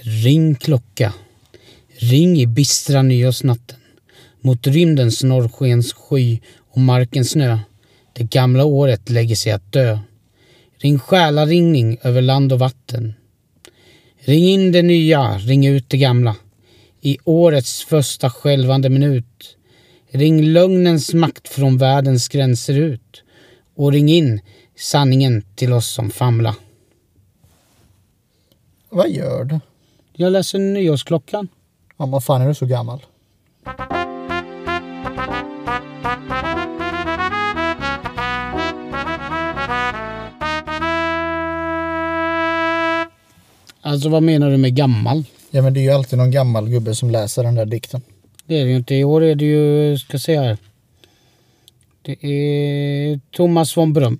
Ring klocka. Ring i bistra nyårsnatten. Mot rymdens norrskens sky och markens snö. Det gamla året lägger sig att dö. Ring själaringning över land och vatten. Ring in det nya, ring ut det gamla. I årets första skälvande minut. Ring lögnens makt från världens gränser ut. Och ring in sanningen till oss som famla. Vad gör du? Jag läser nyårsklockan. Ja, vad fan är du så gammal? Alltså vad menar du med gammal? Ja, men det är ju alltid någon gammal gubbe som läser den där dikten. Det är det ju inte. I år är det ju, ska jag säga här. Det är Thomas von Bröm.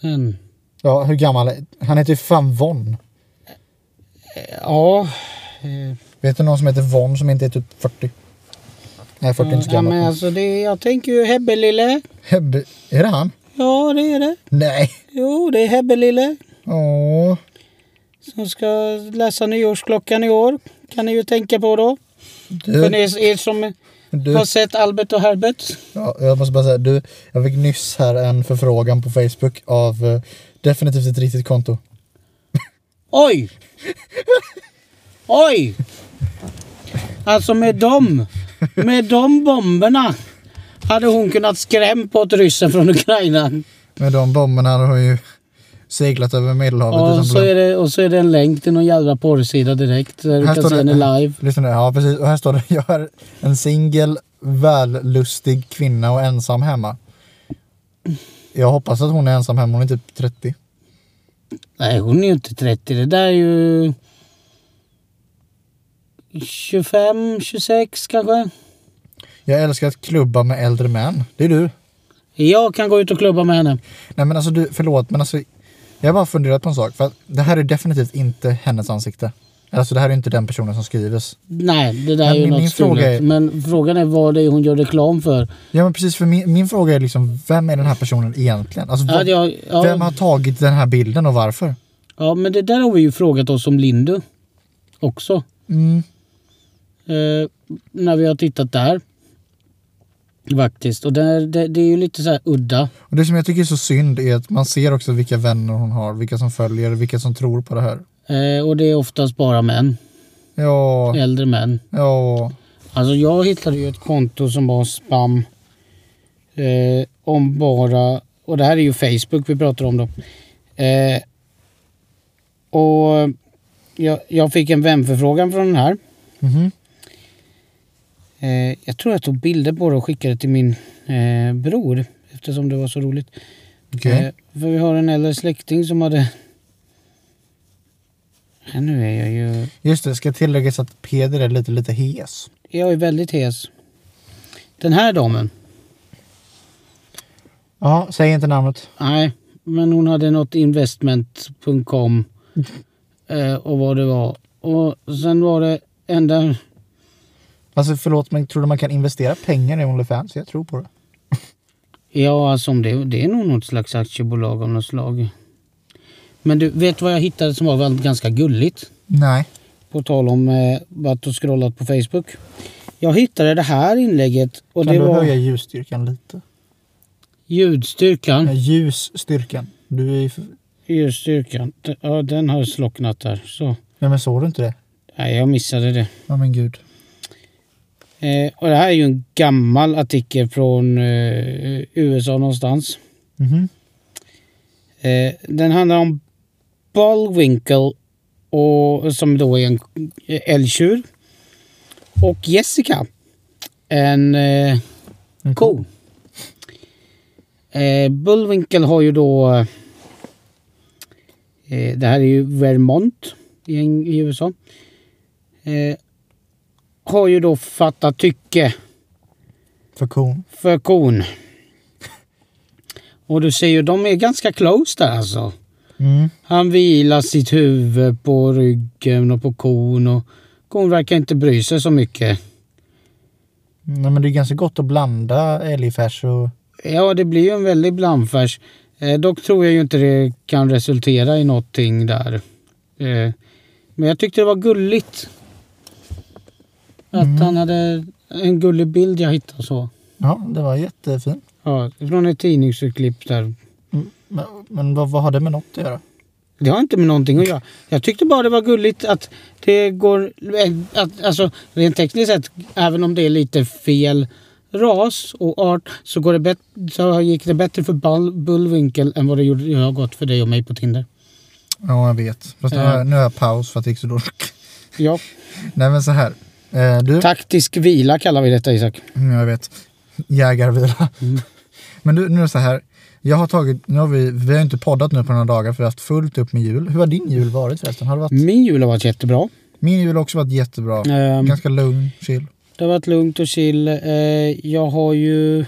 Sen, Ja, hur gammal är... Han heter ju fan Von. ja. eh, Vet du någon som heter Von som inte är typ 40? Nej, 40 är inte så ja gammal. men alltså det, jag tänker ju Hebbe lille. Hebbe... Är det han? Ja det är det. Nej. Jo det är Hebbe lille. Åh. Som ska läsa nyårsklockan i år. Kan ni ju tänka på då. För Du, ni er som du, har sett Albert och Herbert. ja, jag måste bara säga, du, jag fick nyss här en förfrågan på Facebook av eh, definitivt ett riktigt konto. Oj! Oj! Alltså med dem, med de bomberna hade hon kunnat skrämma bort ryssen från Ukraina. Med de bomberna hade hon ju seglat över Medelhavet Ja, Och utan så, är problem. det, och så är det en länk till någon jävla porrsida direkt. Där du Här kan står se det- henne live. Lyssna nu, ja precis. Och här står det, jag är en singel, vällustig kvinna och ensam hemma. Jag hoppas att hon är ensam hemma, hon är typ 30. Nej, hon är ju inte 30. Det där är ju... 25, 26 kanske. Jag älskar att klubba med äldre män. Det är du. Jag kan gå ut och klubba med henne. Nej men alltså du, förlåt men alltså. Jag har bara funderat på en sak. För att det här är definitivt inte hennes ansikte. Alltså det här är inte den personen som skrivs. Nej, det där Men är ju min- något min fråga stulet. är- Men frågan är vad det är hon gör reklam för. Ja men precis, för min, min fråga är liksom, vem är den här personen egentligen? Alltså, Ja, vad- jag, ja, Vem har tagit den här bilden och varför? Ja, men det där har vi ju frågat oss om Lindu också. Mm. Eh, när vi har tittat där. Faktiskt. Och där, det, det är ju lite så här udda. Och det som jag tycker är så synd är att man ser också vilka vänner hon har, vilka som följer, vilka som tror på det här. Eh, och det är oftast bara män. Ja, Äldre män. ja, Alltså jag hittade ju ett konto som var spam. Eh, om bara... Och det här är ju Facebook vi pratar om då. Eh, och jag, jag fick en vänförfrågan från den här. mhm, Eh, jag tror jag tog bilder på det och skickade till min eh, bror eftersom det var så roligt. okej. Eh, för vi har en äldre släkting som hade... Ja, nu är jag ju... Just det, ska tilläggas att Peder är lite, lite hes. Jag är väldigt hes. Den här damen. Ja, säg inte namnet. Nej, men hon hade något investment.com eh, och vad det var. Och sen var det ända... Alltså förlåt, men tror du man kan investera pengar i Onlyfans? Jag tror på det. Ja, alltså om det, det är nog något slags aktiebolag av något slag. Men du, vet vad jag hittade som var ganska gulligt? Nej. På tal om eh, varit och scrollat på Facebook. Jag hittade det här inlägget och kan det du var höja ljusstyrkan lite? ljudstyrkan. Nej, ljusstyrkan. Du är ju... för- Ljudstyrkan. D- Ja, den har slocknat där. Så. Nej men såg du inte det? Nej, jag missade det. Ja men gud. Eh, och det här är ju en gammal artikel från eh, USA någonstans. Mhm. Eh, den handlar om Ballwinkle och, som då är en älgtjur. Och Jessica, en eh, En ko. Eh, Bullwinkle har ju då... Eh, det här är ju Vermont i, en, i USA. Eh, har ju då fattat tycke För kon. för kon. Och du ser ju, de är ganska close där alltså. Mm. Han vilar sitt huvud på ryggen och på kon och kon verkar inte bry sig så mycket. Nej men det är ganska gott att blanda älgfärs och... Ja, det blir ju en väldig blandfärs. Eh, dock tror jag ju inte det kan resultera i någonting där. Eh, Men jag tyckte det var gulligt. Att han hade en gullig bild jag hittade och så. Ja, det var jättefin. Ja, från ett tidningsurklipp där. Mm, Men, men vad, vad har det med något att göra? Det har inte med någonting att göra. Jag tyckte bara det var gulligt att det går... Att, alltså rent tekniskt sett, även om det är lite fel ras och art så, går det bet- så gick det bättre för Bal- Bullwinkel än vad det gjorde, har gått för dig och mig på Tinder. Ja, jag vet. Fast nu, Eh. har, jag- nu har jag paus för att det gick så dåligt. Ja, Nej, men så här. Eh, du, taktisk vila kallar vi detta Isak. Mm, jag vet. Jägarvila. Men du, nu är det så här. Jag har tagit, nu har vi, vi har inte poddat nu på några dagar för vi har haft fullt upp med jul. Hur har din jul varit förresten? Har det varit, Min jul har varit jättebra. Min jul har också varit jättebra. Ehm, Ganska lugn, chill. Det har varit lugnt och chill. Eh, jag har ju...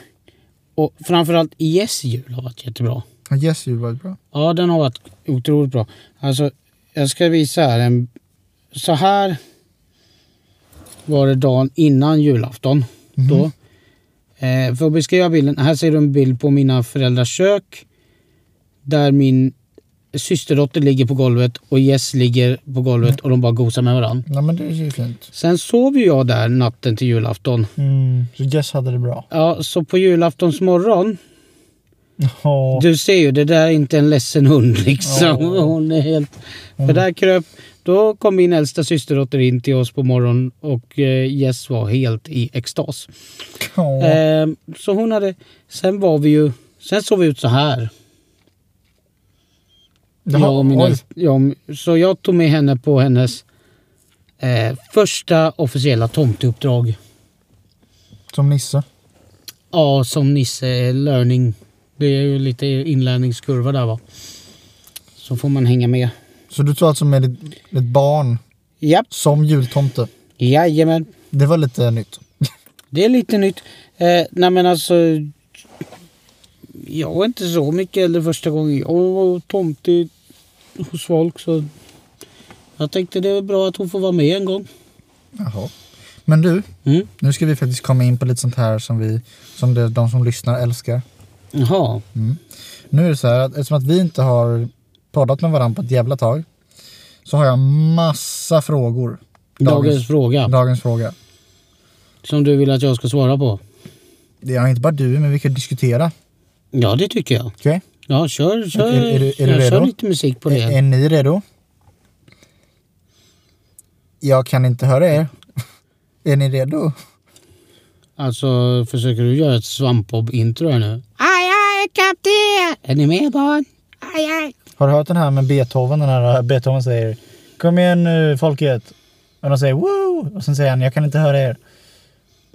Och framförallt IS jul har varit jättebra. Ja, Yes, jul var bra. Ja, den har varit otroligt bra. Alltså, jag ska visa här. En, så här var det dagen innan julafton. Då. Eh, för att beskriva bilden. Här ser du en bild på mina föräldrars kök. Där min systerdotter ligger på golvet och Jess ligger på golvet och de bara gosar med varandra. Nej, men det är ju fint. Sen sov ju jag där natten till julafton. Mm, så Yes hade det bra. Ja, så på julaftons morgon. Ja, Du ser ju, det där är inte en ledsen hund liksom. Ja. Hon är helt... För där kröp... Då kom min äldsta systerdotter in till oss på morgonen och eh, Jess var helt i extas. ja. Ehm, så hon hade... Sen var vi ju... Sen såg vi ut så här. Jaha, jag och min oj. äldsta, jag, och min- så jag tog med henne på hennes eh, första officiella tomteuppdrag. Som Nisse. Ja, som Nisse eh, learning. Det är ju lite inlärningskurva där va. Så får man hänga med. Så du tog alltså med ditt, ditt barn Japp, som jultomte. jajamän. Det var lite nytt. Det är lite nytt. Eh, nej men alltså. Jag var inte så mycket äldre första gången. Jag var tomte hos folk så. Jag tänkte det är bra att hon får vara med en gång. Jaha. Men du, Mm. nu ska vi faktiskt komma in på lite sånt här som, vi, som det, de som lyssnar älskar. Jaha. Nu är det så här att eftersom att vi inte har poddat med varandra på ett jävla tag. Så har jag massa frågor. Dagens, fråga. dagens fråga. Som du vill att jag ska svara på. Det är inte bara du, men vi kan diskutera. Ja det tycker jag. Okej? Ja kör, kör. Är- är du- är du jag kör redo? Eh, lite musik på det. Är, är ni redo? Jag kan inte höra er. Mm. Är ni redo? Alltså, försöker du göra ett svampbob-intro här nu? Aj, aj, kapten! Är ni med barn? Aj, aj. Har du hört den här med Beethoven? Den här eh, Beethoven säger Kom igen nu folket. Och de säger wow. Och sen säger han jag kan inte höra er.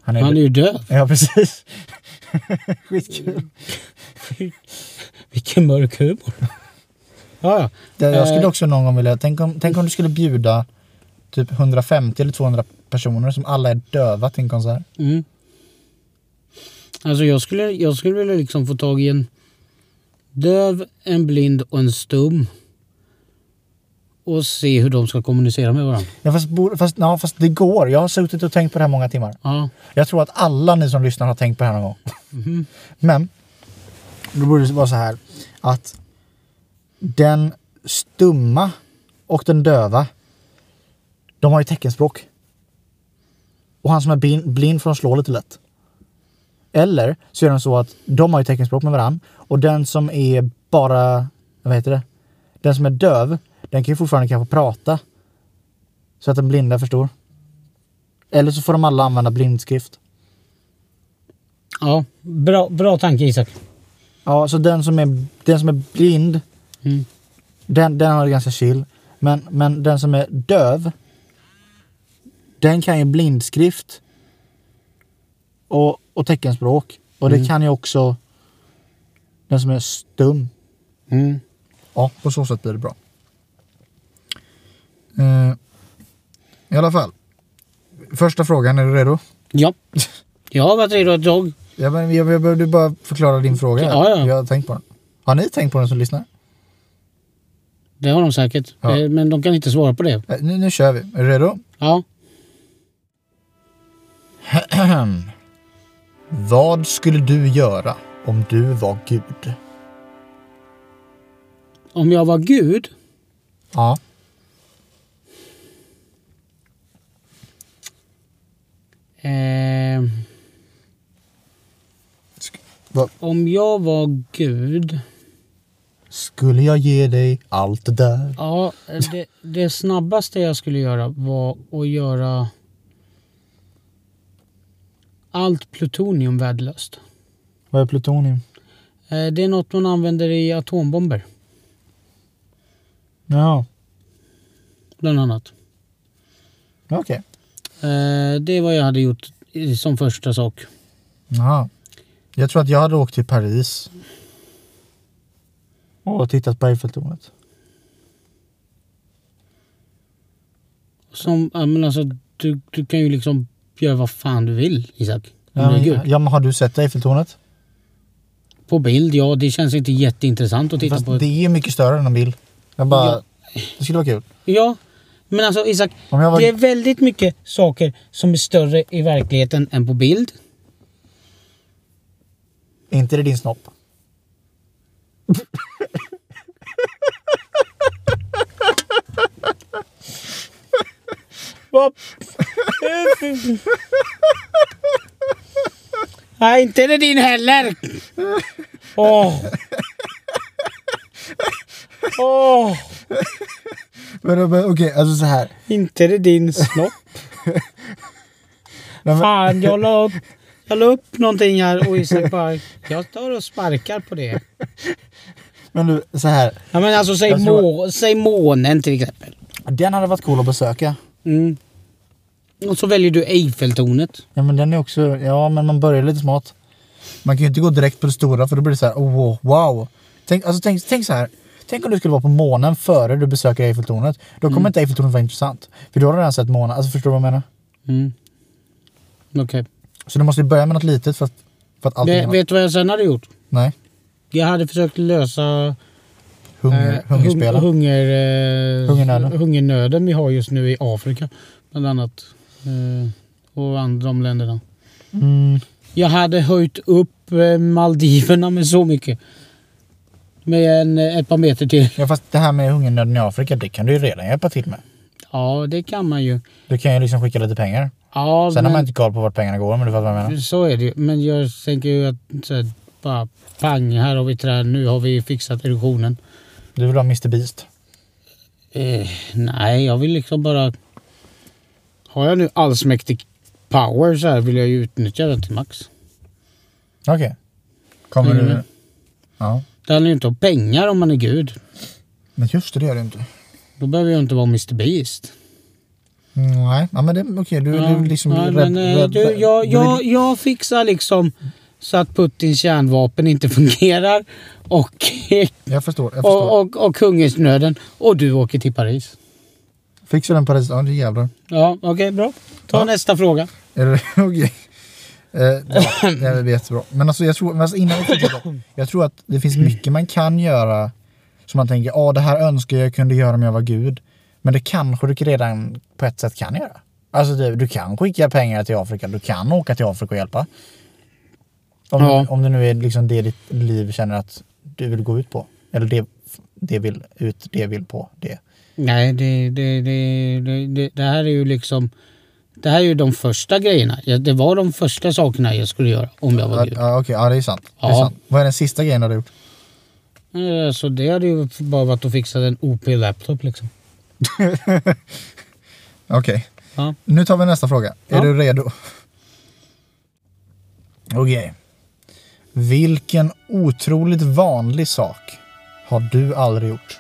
Han är, Han är ju död. Ja precis. Skitkul. Vilken mörk humor. ja, ja. Det, jag skulle Eh. också någon gång vilja, tänk om, tänk om du skulle bjuda typ 150 eller 200 personer som alla är döva till en konsert. Mm. Alltså jag skulle, jag skulle vilja liksom få tag i en döv, en blind och en stum. Och se hur de ska kommunicera med varandra. Ja, fast, bor- fast, ja, fast det går. Jag har suttit och tänkt på det här många timmar. Ja. Jag tror att alla ni som lyssnar har tänkt på det här någon gång. Men då borde det vara så här att den stumma och den döva, de har ju teckenspråk. Och han som är bin- blind får de slå lite lätt. Eller så är det så att de har ju teckenspråk med varann och den som är bara, vad heter det? Den som är döv, den kan ju fortfarande kanske prata. Så att den blinda förstår. Eller så får de alla använda blindskrift. ja. Bra, bra tanke Isak. Ja, så den som är, den som är blind, Mm. den, den har det ganska chill. Men, men den som är döv, den kan ju blindskrift och, och teckenspråk. Och Mm. det kan ju också den som är stum. Mm. Ja, på så sätt blir det bra. Eh, I alla fall. Första frågan, är du redo? Ja. Jag har varit redo att jag... Ja, men jag, jag behövde bara förklara din fråga. Ja, ja. Jag har tänkt på den. Har ni tänkt på den som lyssnar? Det har de säkert. Ja. Eh, Men de kan inte svara på det. Eh, Nu, nu kör vi. Är du redo? Ja. Vad skulle du göra om du var Gud? Om jag var gud Ja. Ehm, Sk- vad- om jag var gud. Skulle jag ge dig allt det där? Ja, det, det snabbaste jag skulle göra var att göra allt plutonium värdelöst. Vad är plutonium? Eh, Det är något man använder i atombomber, Ja, bland annat. okej. Eh, Det är vad jag hade gjort i- som första sak. Jaha. Jag tror att jag hade åkt till Paris. Och tittat på Eiffeltornet. Som, ja, men alltså, du, du kan ju liksom göra vad fan du vill, Isak. Om Ja, du är men, gud. ja, men har du sett Eiffeltornet? På bild, ja. Det känns inte jätteintressant att titta Fast på. det är ju mycket större än en bild. Jag bara... Det skulle vara kul. Ja, men alltså Isak. Om jag var... Det är väldigt mycket saker som är större i verkligheten än på bild. Inte det din snopp. Nej, inte är det din heller! Åh! Åh! Men, men, Okej, alltså så här. Inte är det din snopp. Nej, men, Fan, jag la upp, jag la upp någonting här och Isak bara... Jag står och sparkar på det. men du, så här. Ja, men alltså säg, Jag tror- må, säg månen till exempel. Den hade varit cool att besöka. Mm. Och så väljer du Eiffeltornet. Ja men den är också, ja men man börjar lite smart. Man kan ju inte gå direkt på det stora för då blir det så här, oh, wow. Tänk, alltså, tänk, tänk så här. Tänk om du skulle vara på månen före du besöker Eiffeltornet. Då kommer inte Eiffeltornet vara intressant. För då har du redan sett månen. Alltså förstår du vad jag menar? Mm. Okej. Så du måste ju börja med något litet för att, för att allt Vet- annat- Vet du vad jag sen hade gjort? Nej. Jag hade försökt lösa Hunger, eh, hungerspelen. hung- hunger, eh, Hungernöden. hungernöden vi har just nu i Afrika. Bland annat. Eh, och andra de länderna. mm, Jag hade höjt upp eh, Maldiverna med så mycket. Med en, eh, ett par meter till. ja fast det här med hungernöden i Afrika det kan du ju redan hjälpa till med. Ja, det kan man ju. Du kan ju liksom skicka lite pengar. Ja, Sen har man men, inte koll på vart pengarna går men du fattar vad jag menar. så är det ju. Men jag tänker ju att så här, bara pang, här har vi träd, nu har vi fixat erosionen. Du vill ha Mr Beast. Eh, nej, jag vill liksom bara... Har jag nu allsmäktig power så här vill jag ju utnyttja den till max. Okej. Mm. Kommer Hänger du du... med? Ja. Det handlar ju inte om pengar om man är gud. Men just det, det gör du inte. Då behöver jag inte vara Mr Beast. Mm, Nej, ja, men det, okej, du, Ja, du liksom... ja, rädd- men, eh, rädd- du, jag, du jag, vill- jag fixar liksom så att Putins kärnvapen inte fungerar och, jag förstår, jag förstår. och, och, och hungersnöden och du åker till Paris. Fixar den Paris, ja det jävlar. Ja, okej, bra. Ta Ja. nästa fråga. Är det okej? Eh, ja, det är väl jättebra. Men alltså jag tror, men alltså, innan vi fortsätter. Jag tror att det finns mycket man kan göra som man tänker, ja det här önskar jag kunde göra om jag var gud. Men det kanske du redan på ett sätt kan göra. Alltså du, du kan skicka pengar till Afrika, du kan åka till Afrika och hjälpa. Om, Ja. om det nu är liksom det ditt liv känner att du vill gå ut på. Eller det, det vill ut, det vill på det. Nej, det, det, det, det, det, det här är ju liksom... Det här är ju de första grejerna. Ja, Det var de första sakerna jag skulle göra om jag var Ja, gud. ja, okej, ja det är sant. Det är Ja. sant. Vad är den sista grejen du har gjort? Eh, Så det hade ju bara varit att fixa en OP-laptop liksom. Okej, Ja. nu tar vi nästa fråga. Ja. Är du redo? Okej. Vilken otroligt vanlig sak har du aldrig gjort?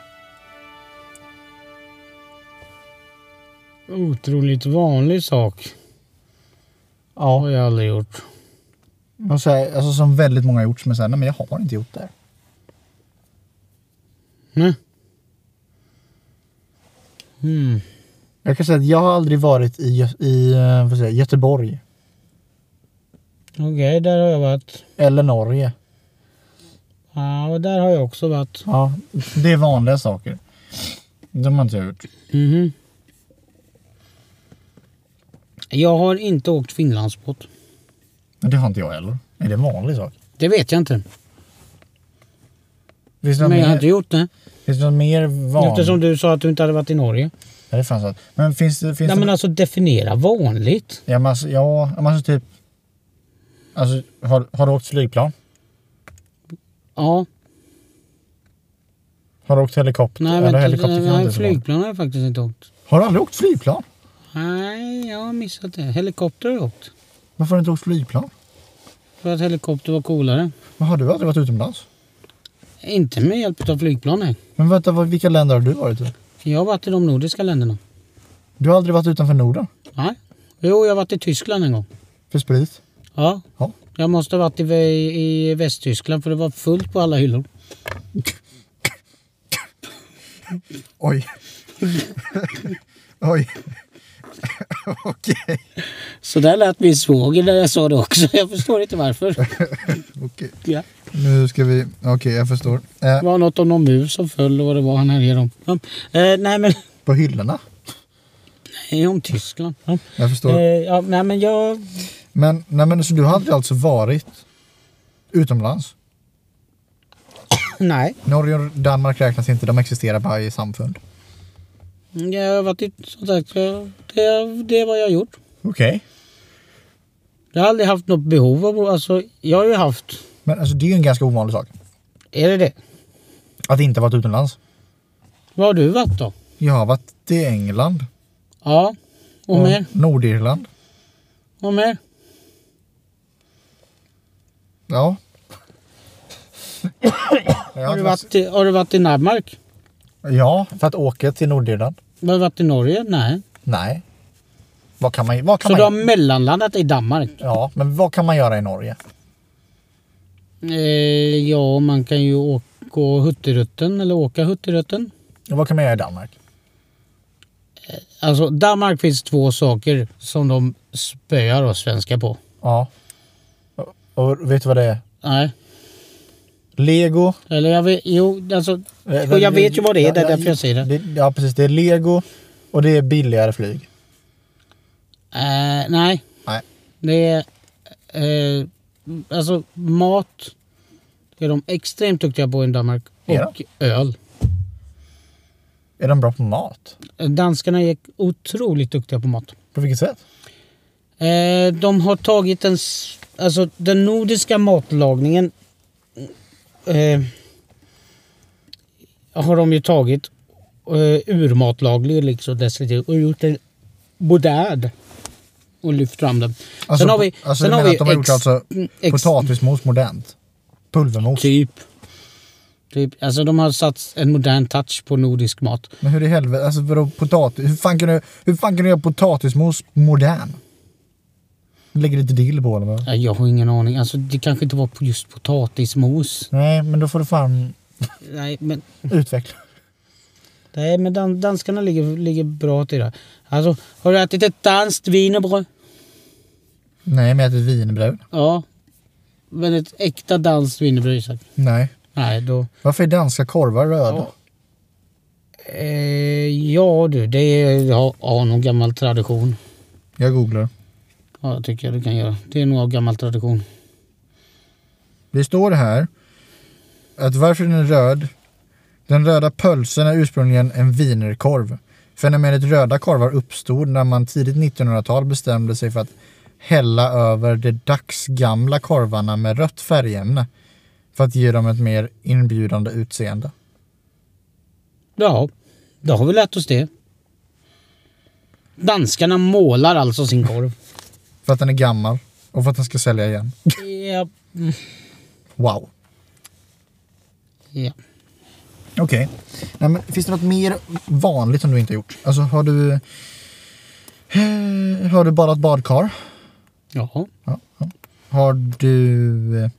Otroligt vanlig sak. Ja. Har jag aldrig gjort. Och så här, alltså som väldigt många har gjort, men säger nej men jag har inte gjort det. Nej. Mm. Jag kan säga att jag har aldrig varit i, Gö- i eh, vad säger jag, Göteborg Okej, där har jag varit. eller Norge. Ja, och där har jag också varit. Ja, det är vanliga saker. De har inte jag gjort. Mhm. Jag har inte åkt Finlandsbåt. Men Det har inte jag heller. Är det en vanlig sak? Det vet jag inte. Finns det något Men jag har mer, inte gjort det. finns det något mer vanligt? Eftersom du sa att du inte hade varit i Norge. Ja, det är fan sant. Men finns det... Finns Nej det... men alltså definiera vanligt. Ja, men alltså, ja, men alltså typ... Alltså, har, har du åkt flygplan? Ja. Har du åkt helikopter? Nej, Eller vänta, helikopter kan jag nej inte flygplan. flygplan har jag faktiskt inte åkt. Har du aldrig åkt flygplan? Nej, jag har missat det. Helikopter har jag åkt. Varför har du inte åkt flygplan? För att helikopter var coolare. Men har du aldrig varit utomlands? Inte med hjälp av flygplan nej. Men vänta, vad- vilka länder har du varit i? Jag har varit i de nordiska länderna. Du har aldrig varit utanför Norden? Nej. Jo, jag har varit i Tyskland en gång. För sprit? Ja. Ja. Jag måste ha varit i, Vä- i Västtyskland för det var fullt på alla hyllor. Oj. Oj. Okej. Så där lät min svåger när jag sa det också. Jag förstår inte varför. Okej. Ja. Nu ska vi... Okej, jag förstår. Eh, Det var något om någon mus som föll och vad det var han härjade om. Ja. Eh, nej men, på hyllorna? nej om Tyskland. Ja. Jag förstår. Eh, ja, nej men jag, Men, nej, men så du har aldrig alltså varit utomlands? nej. Norge och Danmark räknas inte, de existerar bara i samfund. Jag har varit i, som sagt, jag- det, det är vad jag har gjort. Okej. Jag har aldrig haft något behov av, alltså jag har ju haft, Men alltså det är ju en ganska ovanlig sak. är det det? Att inte ha varit utomlands. Vad har du varit då? Jag har varit i England. Ja, och mer, Nordirland. och mer. Ja. Jag Har du varit i, har du varit i Danmark? Ja, för att åka till Nordirland. Har du varit i Norge? Nej. Nej. Vad kan man, vad kan Så du har man, mellanlandat i Danmark? Ja, men vad kan man göra i Norge? Eh, ja, man kan ju åka gå Huttirutten eller åka Huttirutten. Och vad kan man göra i Danmark? Alltså Danmark finns två saker som de spöar oss svenskar på. Ja. Och, och vet du vad det är? Nej, Lego. eller jag vet, jo, alltså, Eh, och jag vet ju vad det är, det är ja, ja, därför jag säger det. Ja, precis. Det är lego och det är billigare flyg. Eh, nej, Nej. det är, eh, alltså mat är de extremt duktiga på i Danmark. Är de? Och öl. Är de bra på mat? Danskarna är otroligt duktiga på mat. På vilket sätt? Eh, de har tagit en... s- Alltså den nordiska matlagningen eh, har de ju tagit eh, ur matlagningen liksom dessutom och gjort den modern. Och lyft fram den. Alltså, sen har vi... alltså, sen du har menar vi att de har gjort alltså mm, ex- potatismos modernt? Pulvermos? Typ. typ. Alltså de har satt en modern touch på nordisk mat. Men hur i helvete, alltså vadå potatis? Hur fan kan du, hur fan kan du göra potatismos modern? Lägger lite dill på eller vad? Eh, Jag har ingen aning. Alltså det kanske inte var på just potatismos. Nej, men då får du fan Nej men utveckla. Nej, men dan- danskarna ligger, ligger bra till där. Alltså, har du ätit ett danskt wienerbröd? Nej, men jag äter wienerbröd. Ja. Men ett äkta danskt wienerbröd Isak? Nej. Nej, då... Varför är danska korvar röda? Ja. Eh, ja du, det är ja, ja, någon gammal tradition. Jag googlar. Ja, det tycker jag du kan göra. Det är nog av gammal tradition. Det står här att varför den är röd. Den röda pölsen är ursprungligen en wienerkorv. Fenomenet röda korvar uppstod när man tidigt 1900-tal bestämde sig för att hälla över de dagsgamla korvarna med rött färgämne för att ge dem ett mer inbjudande utseende. Ja, då har vi lärt oss det. Danskarna målar alltså sin korv. För att den är gammal och för att den ska sälja igen. ja. mm, Wow. ja. Okej. Nej, men Finns det något mer vanligt som du inte har gjort? Alltså har du... Eh, Har du badat badkar? Ja. Ja, ja. Har du... eh,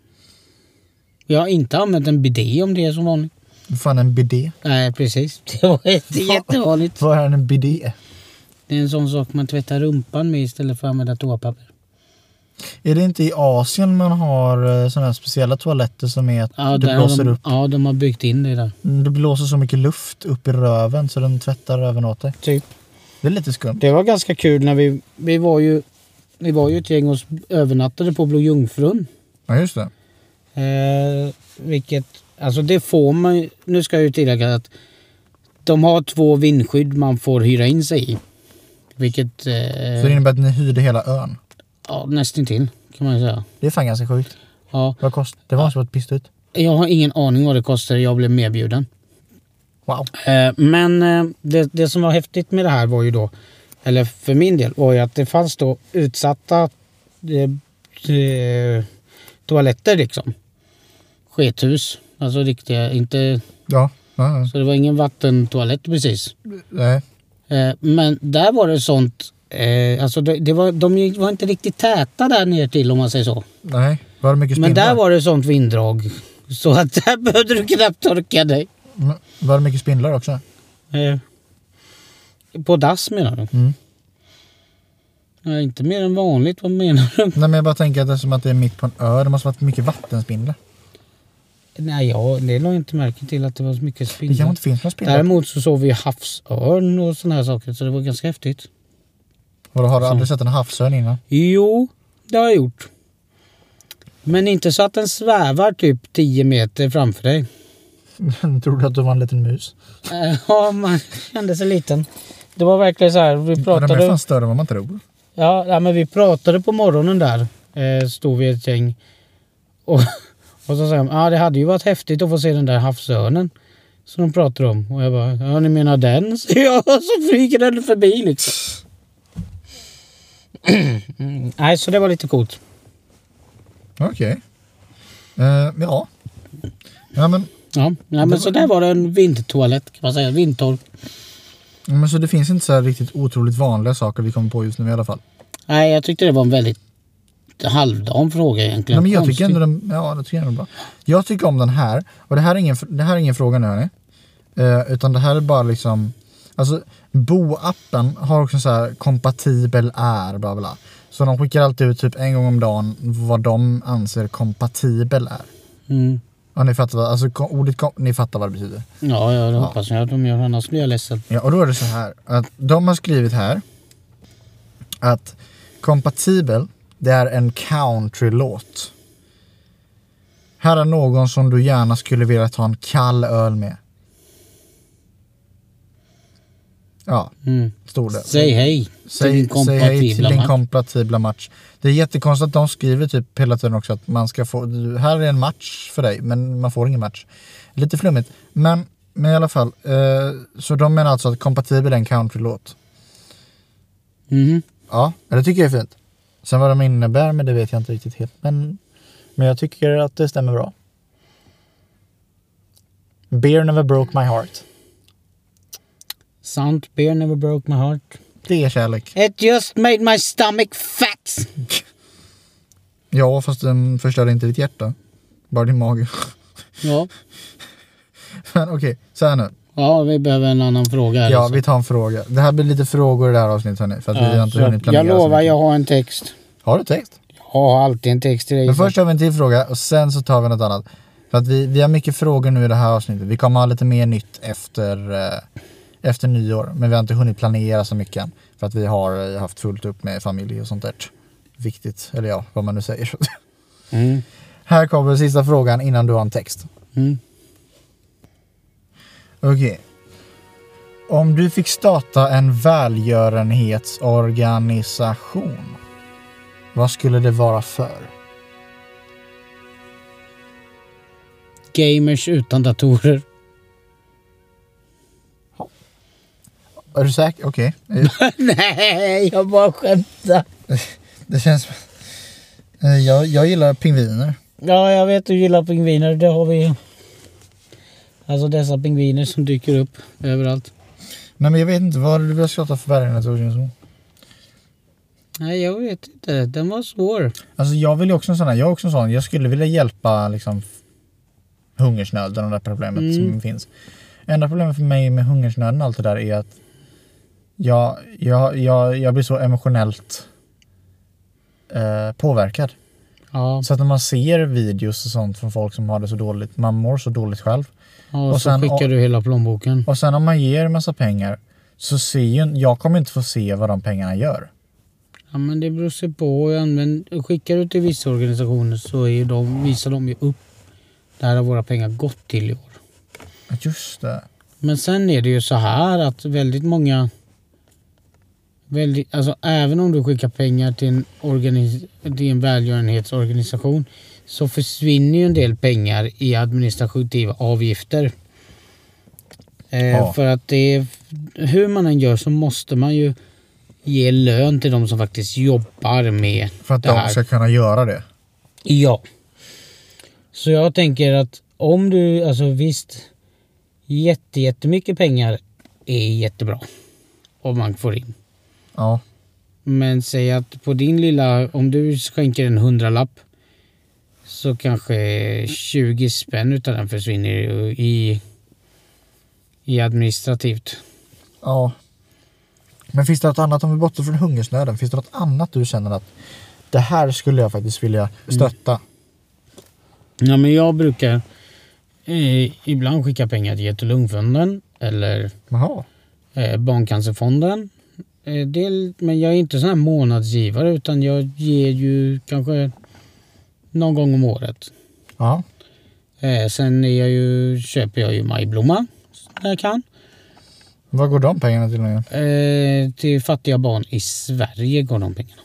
Jag har inte använt en bidé om det är som vanligt. Vad fan är en bidé? Nej, precis. Det var det är jättevanligt. Vad är en bidé? Det är en sån sak man tvättar rumpan med istället för att använda toapapper. Är det inte i Asien man har sådana här speciella toaletter som är att Ja, det där har blåser de, upp? Ja, de har byggt in det där. Mm, Det blåser så mycket luft upp i röven så den tvättar röven åt dig. Typ. Det är lite skumt. Det var ganska kul när vi, vi var ju, vi var ju ett gäng och övernattade på Blå Jungfrun. Ja, just det. Eh, vilket, alltså det får man ju- nu ska jag ju tillägga att De har två vindskydd man får hyra in sig i. Vilket... Eh, Så det innebär att ni hyrde hela ön. ja, nästintill kan man ju säga. Det är fan ganska sjukt. Ja, Vad kost? Det var som ett pissdyrt. jag har ingen aning vad det kostar. Jag blev medbjuden. Wow. Eh, men eh, det, det som var häftigt med det här var ju då, eller för min del, var ju att det fanns då utsatta eh, eh, toaletter liksom. Skethus. Alltså riktiga, inte... Ja. ja, ja. Så det var ingen vattentoalett precis. Nej. Eh, Men där var det sånt... Eh, alltså det, det var, de var inte riktigt täta där ner till om man säger så. Nej. Var det mycket Men spindlar? där var det sånt vinddrag. Så att där behövde du knappt torka dig. Mm. Var det mycket spindlar också? Eh, På dass menar du? Mm. Nej, inte mer än vanligt. Vad menar du? Nej men jag bara tänker att det är som att det är mitt på en ö. Det måste varit mycket vattenspindlar. Nej, ja, det la jag inte märke till att det var så mycket Det kanske spindlar. inte finns några spindlar. Däremot så såg vi havsörn och såna här saker så det var ganska häftigt. Och då har du Mm. aldrig sett en havsörn innan? Jo, det har jag gjort. Men inte så att den svävar typ 10 meter framför dig. Tror du att du var en liten mus? Eh, Ja, man kände sig liten. Det var verkligen så här, vi Ja, De är pratade, fan större än vad man tror. ja, ja, men vi pratade på morgonen där. Eh, stod vi ett gäng. Och, och så sa de, ja det hade ju varit häftigt att få se den där havsörnen. Som de pratade om. Och jag bara, ja ni menar den? Så, jag, så flyger den förbi liksom. Mm, Nej, så det var lite coolt. Okej. Eh, ja. Ja men, Ja, ja men så där var det en vindtoalett kan man säga. Vindtork. men så det finns inte så här riktigt otroligt vanliga saker vi kommer på just nu i alla fall. Nej, jag tyckte det var en väldigt halvdan fråga egentligen. Nej, men jag tycker Konstigt. ändå den, ja, jag tycker ändå bra. Jag tycker om den här. Och det här är ingen, det här är ingen fråga nu hörni. Eh, utan det här är bara liksom. Alltså Bo-appen har också så här kompatibel är bla bla. Så de skickar alltid ut typ en gång om dagen vad de anser kompatibel är. Mm. Ja ni fattar vad, alltså ko- ordet kom, ni fattar vad det betyder. Ja, jag hoppas jag att de gör. Annars blir jag ledsen. Ja, och då är det så här att de har skrivit här att kompatibel, det är en countrylåt. Här är någon som du gärna skulle vilja ta en kall öl med. Ja, Mm. stod det. Säg hej till din säg hej till kompatibla din man. kompatibla match. Det är jättekonstigt att de skriver typ hela tiden också att man ska få, här är en match för dig, men man får ingen match. Lite flummigt, men, men i alla fall. Eh, så de menar alltså att kompatibel är en countrylåt. Mhm. Ja, det tycker jag är fint. Sen vad de innebär men det vet jag inte riktigt helt. Men, men jag tycker att det stämmer bra. Beer never broke my heart. Sant beer never broke my heart. Det är kärlek. It just made my stomach fat. Ja, fast den förstörde inte ditt hjärta. Bara din mage. Ja, Men okej, så här nu. ja vi behöver en annan fråga. här, Ja, alltså. vi tar en fråga. Det här blir lite frågor i det här avsnittet hörni. För att vi har Ja, inte hunnit så planera. jag så lovar, mycket. jag har en text. Har du text? Jag har alltid en text till dig. Men först har vi en till fråga och sen så tar vi något annat. För att vi, vi har mycket frågor nu i det här avsnittet. Vi kommer ha lite mer nytt efter, eh, efter nyår. Men vi har inte hunnit planera så mycket än. För att vi har eh, haft fullt upp med familj och sånt där. Viktigt, eller ja, vad man nu säger. Mm. här kommer sista frågan innan du har en text. Mm. Okej. Om du fick starta en välgörenhetsorganisation. Vad skulle det vara för? Gamers utan datorer. Är du säker? Okej. Eh, Nej, jag bara skämtar. Det känns... Eh, Jag, jag gillar pingviner. Ja, jag vet du gillar pingviner. Det har vi. Alltså dessa pingviner som dyker upp överallt. Nej men jag vet inte, vad du vill skratta för bergen Nej, jag vet inte. Den var svår. Alltså jag vill ju också en sån här, jag är också en sån, jag skulle vilja hjälpa liksom hungersnöden och det där problemet Mm. som finns. Enda problemet för mig med hungersnöden och allt det där är att jag, jag, jag, jag blir så emotionellt eh, påverkad. Ja, Så att när man ser videos och sånt från folk som har det så dåligt, man mår så dåligt själv. och, och så sen- skickar du hela plånboken. Och sen om man ger massa pengar så ser ju, jag kommer inte få se vad de pengarna gör. Ja, men det beror sig på. Använd, skickar du till vissa organisationer så är ju de, visar de ju upp. Det här har våra pengar gått till i år. Just det. Men sen är det ju så här att väldigt många... Väldigt, alltså även om du skickar pengar till en, organis- till en välgörenhetsorganisation så försvinner ju en del pengar i administrativa avgifter. Eh, Ja. För att det är, hur man än gör så måste man ju ge lön till de som faktiskt jobbar med För att det här. de ska kunna göra det. Ja. Så jag tänker att om du, alltså visst, jätte, jättemycket pengar är jättebra. Om man får in. Ja. Men säg att på din lilla, om du skänker en hundralapp så kanske 20 spänn utav den försvinner ju i, i administrativt. ja. Men finns det något annat, om vi bortser från hungersnöden, finns det något annat du känner att det här skulle jag faktiskt vilja stötta? Mm. Ja, men jag brukar eh, ibland skicka pengar till Hjärt och lungfonden eller Jaha. eh, Barncancerfonden. Eh, del, men jag är inte sån här månadsgivare utan jag ger ju kanske någon gång om året. Ja. Eh, sen är jag ju, köper jag ju majblomma när jag kan. Vad går de pengarna till nu igen? Eh, till fattiga barn i Sverige går de pengarna.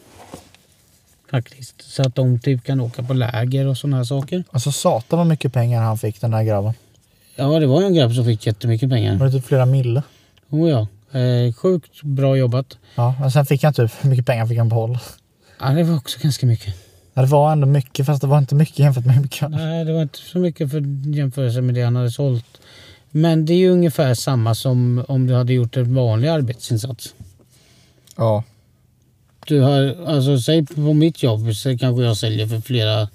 Faktiskt. Så att de typ kan åka på läger och såna här saker. Alltså satan vad mycket pengar han fick den där grabben. Ja, det var ju en grabb som fick jättemycket pengar. Var det typ flera mille? Oh, ja. eh, sjukt bra jobbat. Ja, men sen fick han typ, hur mycket pengar fick han behålla? Ja, det var också ganska mycket. Ja, det var ändå mycket fast det var inte mycket jämfört med hur mycket han... Nej, det var inte så mycket för jämförelse med det han hade sålt. Men det är ju ungefär samma som om du hade gjort en vanlig arbetsinsats. Ja. Du har, alltså säg på mitt jobb så kanske jag säljer för flera,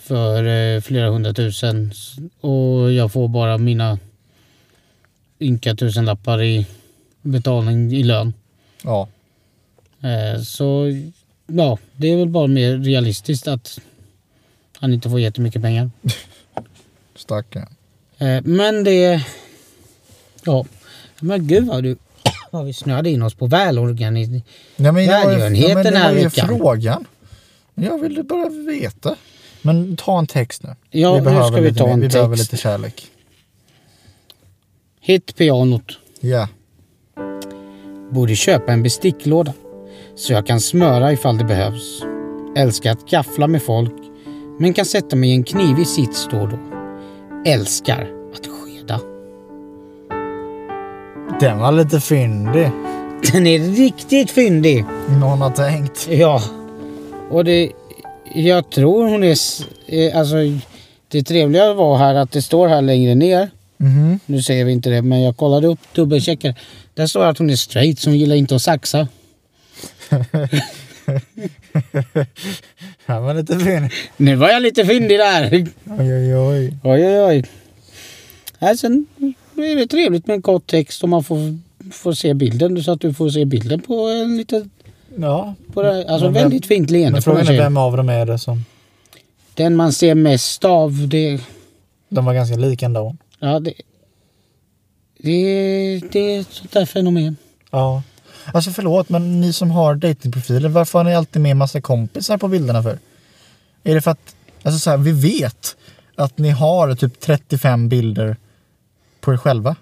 för eh, flera hundratusen S- och jag får bara mina ynka tusenlappar i betalning i lön. Ja. Eh, Så ja, det är väl bara mer realistiskt att han inte får jättemycket pengar. Stackarn. Eh, Men det... Ja. Men gud vad du... Vad vi snöade in oss på välorganiserat. Nej, men jag, Välgörenhet men den det här var ju veckan. frågan. Jag ville bara veta. Men ta en text nu. Ja, nu behöver ska vi lite ta mer- en Vi behöver text. lite kärlek. Hit pianot. Ja. Borde köpa en besticklåda. Så jag kan smöra ifall det behövs. Älskar att gaffla med folk. Men kan sätta mig i en knivig sits då och då. Älskar att skeda. Den var lite fyndig. Den är riktigt fyndig. Någon har tänkt. Ja. Och det... Jag tror hon är... s- eh, Alltså... Det trevliga var här att det står här längre ner. Mhm. Nu säger vi inte det, men jag kollade upp dubbelcheckade. Där står att hon är straight, så hon gillar inte att saxa. Den var lite fyndig. Nu var jag lite fyndig där. Oj, oj, oj. Oj, oj, oj. Äh, sen är det trevligt med en kort text och man får, får se bilden så att du får se bilden på en liten... Ja. På det, alltså Men vem- väldigt fint leende Men på den frågan är tjejen. vem av dem är det som... Den man ser mest av, det... De var ganska lika ändå. Ja, det... Det, det är ett sånt där fenomen. Ja. Alltså förlåt, men ni som har datingprofiler, varför har ni alltid med massa kompisar på bilderna för? Är det för att, alltså så här, vi vet att ni har typ 35 bilder på er själva.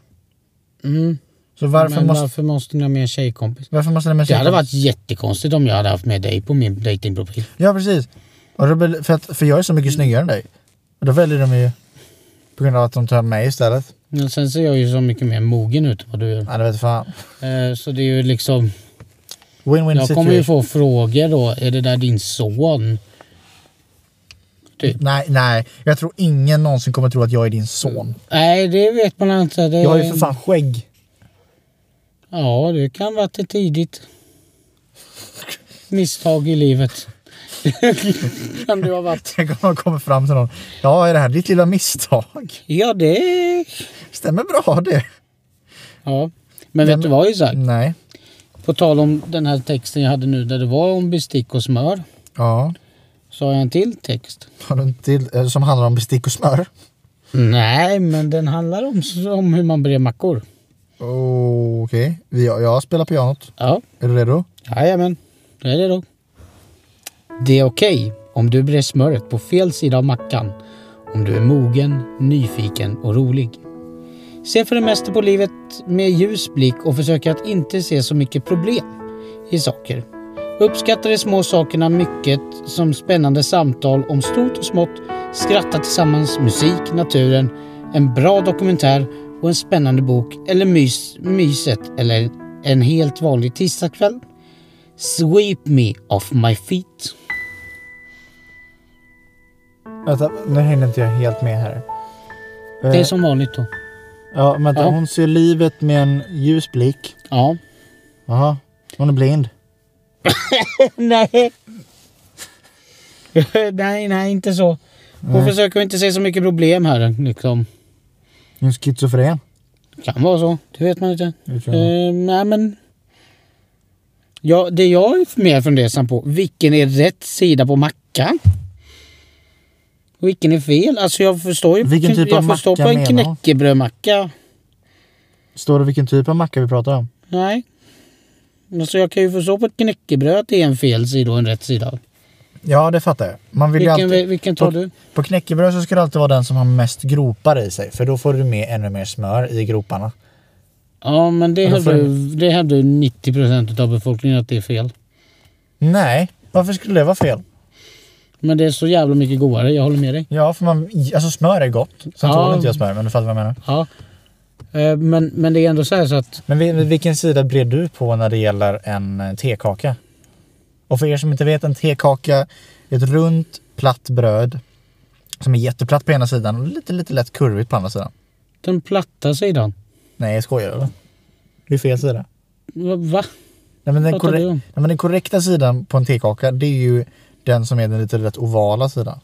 Mm. Så varför Men måste, varför måste ni ha med en tjejkompis? varför måste ni med Det hade tjejkompis? varit jättekonstigt om jag hade haft med dig på min datingprofil. Ja, precis. Och då blir, för, att, för jag är så Mm. mycket snyggare än dig. Och då väljer de ju på grund av att de tar mig istället. Men sen ser jag ju så mycket mer mogen ut än vad du gör. Ja, det vet fan. Eh, Så det är ju liksom... Win-win Jag kommer ju situation. få frågor då. Är det där din son? Typ. Nej, nej. Jag tror ingen någonsin kommer tro att jag är din son. Nej, det vet man inte. Det... Jag har ju för Mm. fan skägg. Ja, det kan vara till tidigt. Misstag i livet. kan du ha varit. Tänk om någon kommer fram till någon. Ja, är det här ditt lilla misstag? Ja, det... Stämmer bra det. Ja. Men vet Men- du vad Isak? Nej. På tal om den här texten jag hade nu där det var om bestick och smör. Ja. Så har jag en till text. Har du en till eh, som handlar om bestick och smör? Nej, men den handlar om, om hur man brer mackor. Oh, Okej. Vi- Jag, jag spelar pianot. Ja. Är du redo? Jajamän, det är det då. Det är okej om du brer smöret på fel sida av mackan om du är mogen, nyfiken och rolig. Se för det mesta på livet med ljus blick och försök att inte se så mycket problem i saker. Uppskatta de små sakerna mycket som spännande samtal om stort och smått, skratta tillsammans, musik, naturen, en bra dokumentär och en spännande bok eller mys, myset eller en helt vanlig tisdagskväll. Sweep me off my feet. Vänta, nu hängde inte jag helt med här. Det är Eh, som vanligt då. Ja, vänta. Ja. Hon ser livet med en ljus blick. Ja. Jaha. Hon är blind. nej. nej, nej, inte så. Hon försöker inte se så mycket problem här liksom. Hon är schizofren. Kan vara så. Det vet man inte. Det tror jag. Eh, nej men. Ja, det jag är mer fundersam på. Vilken är rätt sida på mackan? Och Vilken är fel? Alltså jag förstår ju. Vilken typ jag av förstår macka på en menar hon? knäckebrödmacka. Står det vilken typ av macka vi pratar om? Nej. Alltså jag kan ju förstå på ett knäckebröd att det är en fel sida och en rätt sida. Ja, det fattar jag. Man vill ju Vilken, alltid... vilken tar du? På knäckebröd så ska det alltid vara den som har mest gropar i sig. För då får du med ännu mer smör i groparna. Ja men det Då får hävdar ju- det hävdar ju 90% av befolkningen att det är fel. Nej, varför skulle det vara fel? Men det är så jävla mycket godare, jag håller med dig. Ja, för man... Alltså smör är gott. Sen Ja. tål inte jag smör, men du fattar vad jag menar. Ja. Eh, Men, men det är ändå så här så att Men vil- vilken sida bred du på när det gäller en eh, tekaka? Och för er som inte vet, en tekaka är ett runt, platt bröd som är jätteplatt på ena sidan och lite, lite lätt kurvigt på andra sidan. den platta sidan. Nej, jag skojar eller? Det är fel sida. Va? va? Nej, men den, Pratar korre- du om? Nej, men den korrekta sidan på en tekaka, det är ju den som är den lite lätt ovala sidan.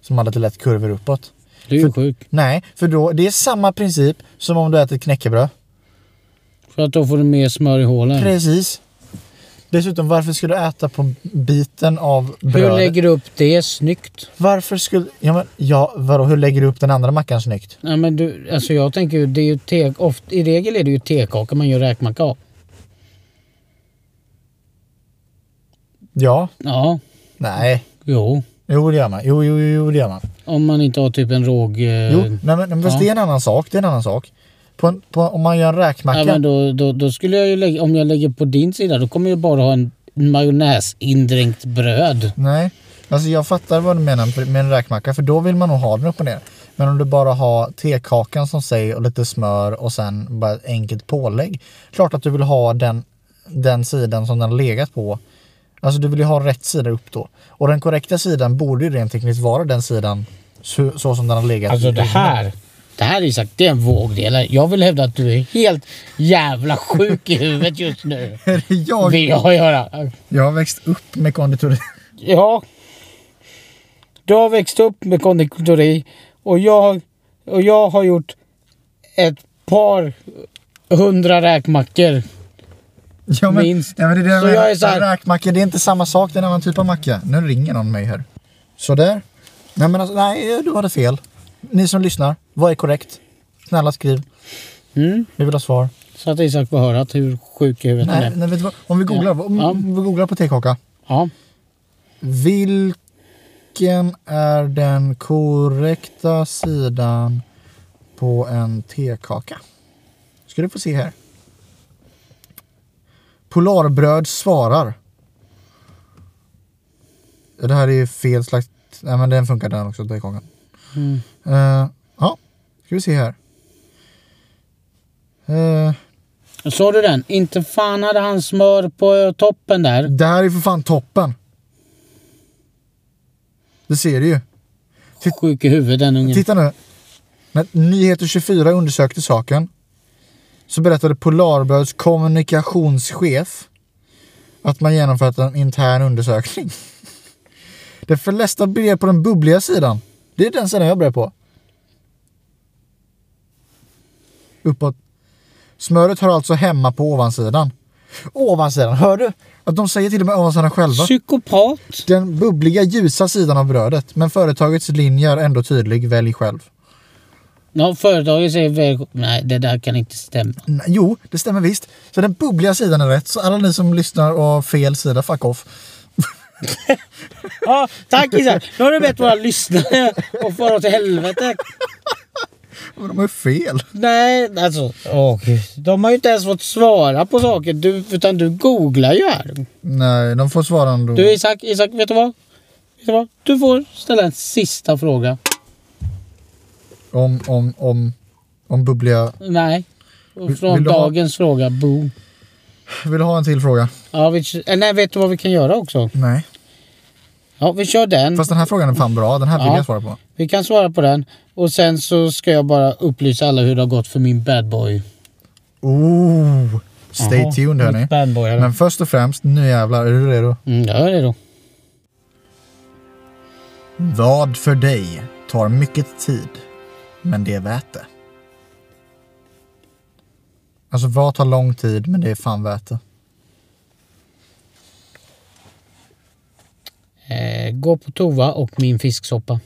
Som har lite lätt kurvor uppåt. Du är ju För- sjuk. Nej, för då, det är samma princip som om du äter knäckebröd. För att då får du mer smör i hålen. Precis. Dessutom, varför ska du äta på biten av Hur brödet? lägger du upp det snyggt? Varför skulle... Ja, men, ja, vadå, hur lägger du upp den andra mackan snyggt? Nej men du, alltså jag tänker ju, det är ju te, oft, i regel är det ju tekaka man gör räkmacka av. Ja. Ja, Nej. jo. Jo, det gör man. Jo, jo, jo, jo det gör man. Om man inte har typ en råg... eh, Jo, nej, men, nej, men fast ja. det är en annan sak. Det är en annan sak. På en, på, om man gör en räkmacka. Ja, men då, då, då skulle jag ju lägga, om jag lägger på din sida då kommer jag bara ha en majonnäsindränkt bröd. Nej. Alltså jag fattar vad du menar med en räkmacka för då vill man nog ha den upp och ner. Men om du bara har tekakan som sig och lite smör och sen bara ett enkelt pålägg. Klart att du vill ha den, den sidan som den har legat på. Alltså du vill ju ha rätt sida upp då. Och den korrekta sidan borde ju rent tekniskt vara den sidan så, så som den har legat. Alltså det här. Det här Isak, det är en vågdelare. Jag vill hävda att du är helt jävla sjuk i huvudet just nu. Är det jag, Vill jag göra. jag har växt upp med konditori. Ja. Du har växt upp med konditori och jag, och jag har gjort ett par hundra räkmackor. Ja, Minst. Ja, men det är det jag Så menar. jag är så här- Räkmacka, det är inte samma sak. Det är en annan typ av macka. Nu ringer någon mig här. Sådär. Nej, men alltså, nej, du hade fel. Ni som lyssnar, vad är korrekt? Snälla skriv. Mm. Vi vill ha svar. Så att Isak får höra att hur sjuk i huvudet han Nej, är. nej, vet du vad? Om vi googlar, om, Ja. om vi googlar på tekaka. Ja. Vilken är den korrekta sidan på en tekaka? Ska du få se här. Polarbröd svarar. Det här är ju fel slags... Nej men den funkar den också, tekakan. Mm. Eh, ja, ska vi se här. Eh, Såg du den? Inte fan hade han smör på eh, toppen där. det här är för fan toppen. Det ser du ju. Sjuk i huvudet den ungen. Titta nu. När Nyheter 24 undersökte saken så berättade Polarbröds kommunikationschef att man genomfört en intern undersökning. Det förlästa brev på den bubbliga sidan. Det är den sidan jag brer på. Uppåt. Smöret hör alltså hemma på ovansidan. Ovansidan, hör du? Att de säger till och med ovansidan själva. Psykopat. Den bubbliga ljusa sidan av brödet, men företagets linje är ändå tydlig. Välj själv. Ja, företaget säger väl... Nej, det där kan inte stämma. Nej, jo, det stämmer visst. Så den bubbliga sidan är rätt. Så alla ni som lyssnar och har fel sida, fuck off. Ja, tack Isak. Nu har du bett våra lyssnare och fara åt helvete. Men de har ju fel. Nej, alltså. Åh, Gud. De har ju inte ens fått svara på saker. Du, utan du googlar ju här. Nej, de får svara ändå. Du Isak, Isak, vet du vad? Vet du vad? Du får ställa en sista fråga. Om, om, om, om bubbliga... Nej. Vill- Från vill du ha- dagens fråga, boom. Vill du ha en till fråga? Ja, vi, eh, nej, vet du vad vi kan göra också? Nej. Ja, vi kör den. Fast den här frågan är fan bra. Den här vill Ja. jag svara på. Vi kan svara på den. Och sen så ska jag bara upplysa alla hur det har gått för min bad boy. Oh! Stay Jaha, tuned hörni. mitt Bad boy, Men men... först och främst, nu jävlar, är du redo? mm, gör det då. Vad för dig tar mycket tid, men det är värt det. Alltså vad tar lång tid, men det är fan värt det. Eh, gå på toa och min fisksoppa.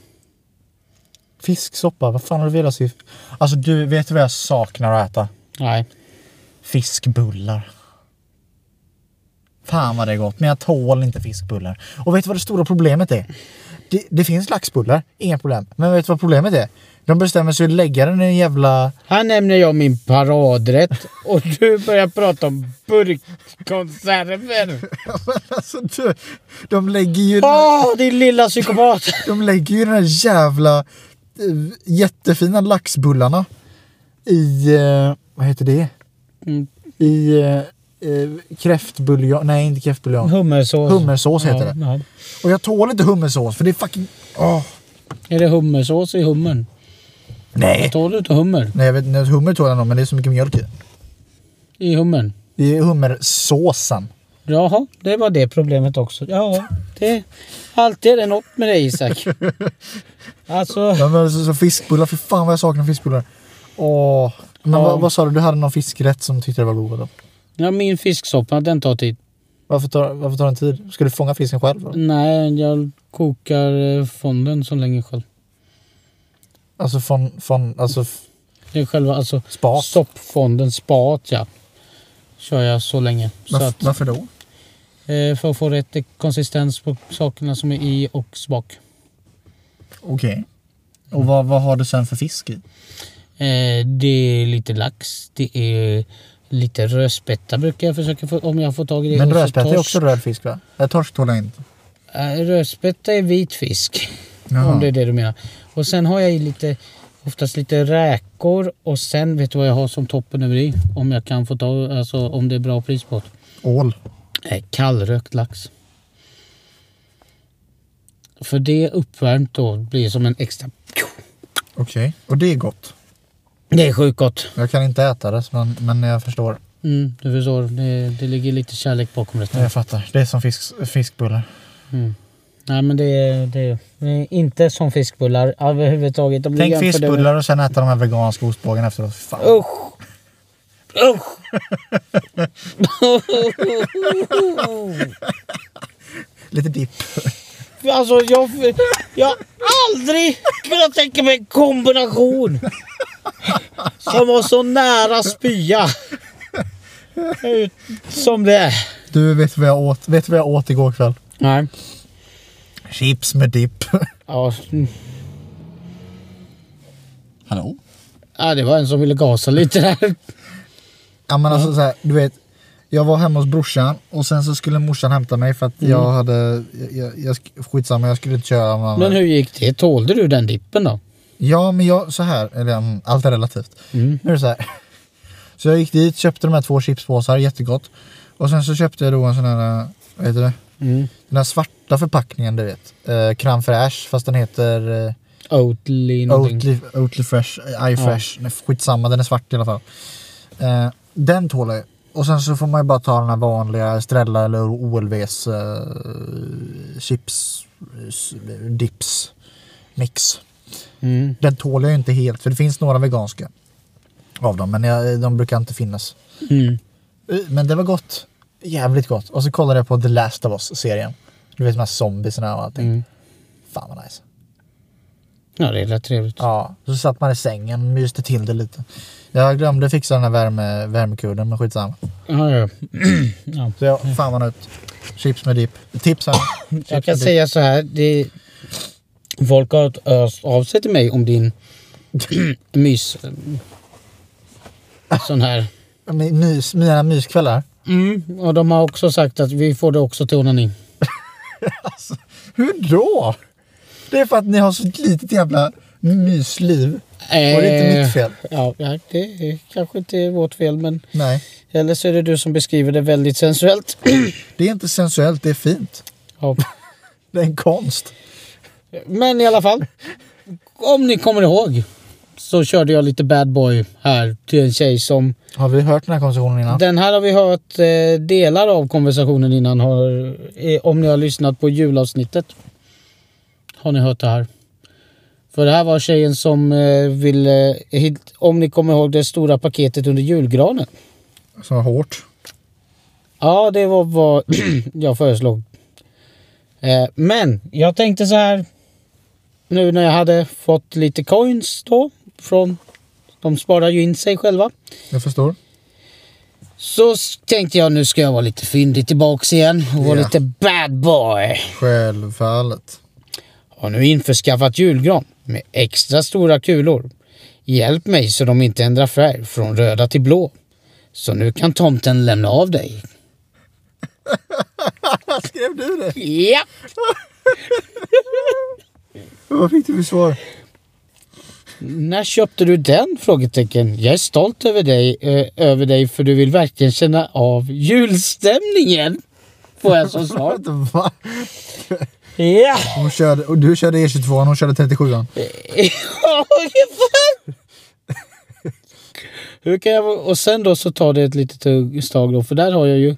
Fisksoppa, vad fan har du velat se? Alltså du, vet du vad jag saknar att äta? Nej. Fiskbullar. Fan vad det är gott, men jag tål inte fiskbullar. Och vet du vad det stora problemet är? Det, det finns laxbullar, inga problem. Men vet du vad problemet är? De bestämmer sig att lägga den i en jävla... Här nämner jag min paradrätt och du börjar prata om burkkonserver. alltså du, de lägger ju... Åh, din lilla psykopat! De lägger ju de här jävla eh, jättefina laxbullarna i, eh, vad heter det? Mm. I eh, eh, kräftbuljong, nej inte kräftbuljong. Hummersås. Hummersås heter ja, det. Ja. Och jag tål inte hummersås för det är fucking, åh. Är det hummersås i hummern? Nej. Tål du inte hummer Nej jag vet inte, hummer tål jag nog men det är så mycket mjölk i. i hummern? Det är hummersåsen. Jaha, det var det problemet också. Ja, det... Alltid är det något med dig Isak. Alltså, Ja, men så, så fiskbullar, för fan vad jag saknar fiskbullar. Åh. Men Ja. vad, vad sa du, du hade någon fiskrätt som tyckte det var god då? ja, min fisksoppa den tar tid. Varför tar, varför tar den tid? Ska du fånga fisken själv? Då? Nej, jag kokar eh, fonden så länge själv. Alltså från, från alltså f- Det är själva alltså spat? stoppfonden, spat ja. Kör jag så länge. Så Varf- att, Varför då? eh, för att få rätt konsistens på sakerna som är i och smak. Okej. Och vad, vad har du sen för fisk i? Eh, det är lite lax, det är lite rödspätta brukar jag försöka få om jag får tag i det. Men Och så rödspätta är torsk. också röd fisk va? Nej, torsk tål jag inte. Eh, rödspätta är vit fisk. Jaha. Om det är det du menar. Och sen har jag i lite, oftast lite räkor och sen vet du vad jag har som toppen över i? Om jag kan få tag, alltså om det är bra pris på det. Ål. Eh, Kallrökt lax. För det uppvärmt då blir som en extra... Okej. Och det är gott. Det är sjukt gott. Jag kan inte äta det men, men jag förstår. Mm, du förstår, det, det ligger lite kärlek bakom detta. Jag fattar. Det är som fisk, fiskbullar. Mm. Nej men det är, det är det är inte som fiskbullar överhuvudtaget. Om du Tänk jämför det med- Oh. fiskbullar och sen äta de här veganska ostbågarna efteråt. Fan. Usch! Usch! Lite dipp. alltså jag, jag har aldrig kunnat tänka mig en kombination som var så nära spya. Ut- Som det är. Du, vet du vad jag åt, vet du vad jag åt igår kväll? Nej. Chips med dipp. Ja, mm. Hallå? ja, det var en som ville gasa lite där. Ja men alltså så här, du vet. Jag var hemma hos brorsan och sen så skulle morsan hämta mig för att Mm. jag hade, jag, jag, jag, sk- skitsamma jag skulle inte köra någon Men hur gick det? Tålde du den dippen då? Ja, men jag, så här, eller mm, allt är relativt. Mm. Nu är det så här. Så jag gick dit, köpte de här två chipspåsar, jättegott. Och sen så köpte jag då en sån här, eh, vad heter det? Mm. Den här svarta förpackningen du vet. Eh, crème fraîche, fast den heter eh, Oatly någonting. Oatly, Oatly Fresh, eh, Eye Fresh. Nej, skitsamma, den är svart i alla fall. Eh, den tål jag. Och sen så får man ju bara ta den här vanliga Estrella eller OLVs eh, chips, s- dips, mix. Mm. Den tål jag ju inte helt för det finns några veganska av dem men jag, de brukar inte finnas. Mm. Eh, Men det var gott. Jävligt gott. Och så kollade jag på The Last of Us-serien. Du vet de här zombiesna och allting. Mm. Fan vad nice. Ja, det lät trevligt. Ja, så satt man i sängen och myste till det lite. Jag glömde fixa den här värme, värmekudden men skitsamma. Ja, ja. ja. Så jag, fan vad nöjt. Chips med dipp. Tips här. Chips Jag med kan dipp. säga så här. Det, folk har hört öst av sig till mig om din mys... Sån här. My- Mys, mina myskvällar. Mm, och de har också sagt att vi får det också till onani. Alltså, hur då? Det är för att ni har så litet jävla mysliv. Var det inte mitt fel? Eh, Ja, ja, det är kanske inte är vårt fel men Nej, eller så är det du som beskriver det väldigt sensuellt. det är inte sensuellt, det är fint. ja. Det är en konst. Men i alla fall. Om ni kommer ihåg så körde jag lite bad boy här till en tjej som Har vi hört den här konversationen innan? Den här har vi hört eh, delar av konversationen innan. Har, eh, om ni har lyssnat på julavsnittet. Har ni hört det här. För det här var tjejen som eh, ville, hit- om ni kommer ihåg det stora paketet under julgranen. Som var hårt. Ja, det var vad jag föreslog. Eh, men jag tänkte så här. Nu när jag hade fått lite coins då. Från, de sparar ju in sig själva. Jag förstår. Så s- tänkte jag nu ska jag vara lite fyndig tillbaks igen och vara Ja. lite bad boy. Självfallet. Har nu införskaffat julgran med extra stora kulor. Hjälp mig så de inte ändrar färg från röda till blå. Så nu kan tomten lämna av dig. Skrev du det? Ja! Vad fick du för svar? När köpte du den? Frågetecken. Jag är stolt över dig, eh, över dig för du vill verkligen känna av julstämningen. Får jag som svar. Vänta, va? Ja! Hon körde, och du körde E22 och hon körde 37an. Ja, ungefär. Hur kan jag, och sen då så tar det ett litet tugg- stag då, för där har jag ju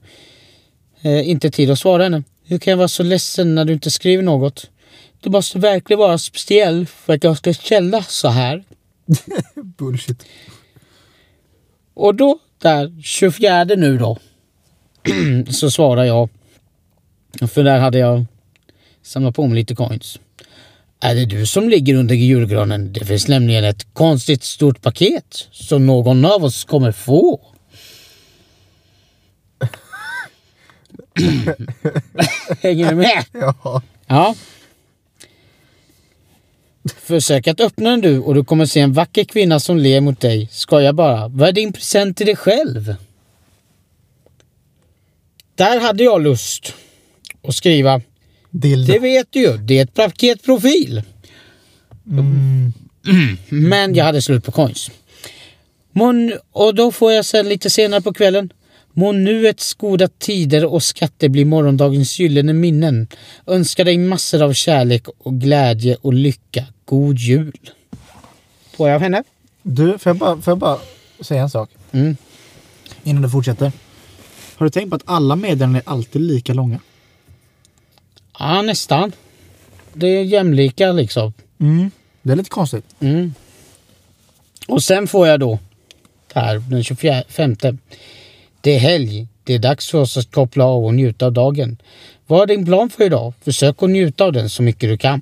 eh, inte tid att svara henne. Hur kan jag vara så ledsen när du inte skriver något? Du måste verkligen vara speciell för att jag ska känna så här. Bullshit. Och då, där 24 nu då, så svarar jag. För där hade jag samlat på mig lite coins. Är det du som ligger under julgranen? Det finns nämligen ett konstigt stort paket som någon av oss kommer få. Hänger du med? Ja. Ja. Försök att öppna den du och du kommer se en vacker kvinna som ler mot dig. Skoja bara. Vad är din present till dig själv? Där hade jag lust att skriva. Dildo. Det vet du ju, det är ett paketprofil. Mm. Men jag hade slut på coins. Mon, och då får jag sen lite senare på kvällen. Må nuets goda tider och skatter bli morgondagens gyllene minnen. Önskar dig massor av kärlek och glädje och lycka. God jul. Får jag av henne? Du, får jag, bara, får jag bara säga en sak? Mm. Innan du fortsätter. Har du tänkt på att alla meddelanden är alltid lika långa? Ja, nästan. Det är jämlika liksom. Mm. Det är lite konstigt. Mm. Och sen får jag då, här den 25. Det är helg. Det är dags för oss att koppla av och njuta av dagen. Vad är din plan för idag? Försök att njuta av den så mycket du kan.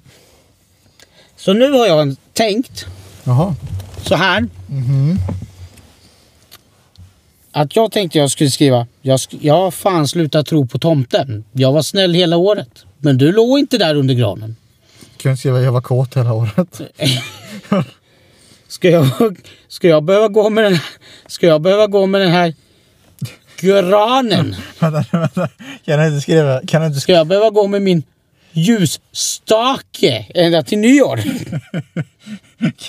Så nu har jag tänkt Jaha. så här. Att jag tänkte jag skulle skriva, jag, sk- jag har fan slutat tro på tomten. Jag var snäll hela året. Men du låg inte där under granen. Kan jag skriva jag var kåt hela året? Mm. Ska jag, ska jag behöva gå med den Ska jag behöva gå med den här granen? vänta, vänta. Kan du inte skriva? Kan du inte Ska jag behöva gå med min ljusstake ända till nyår?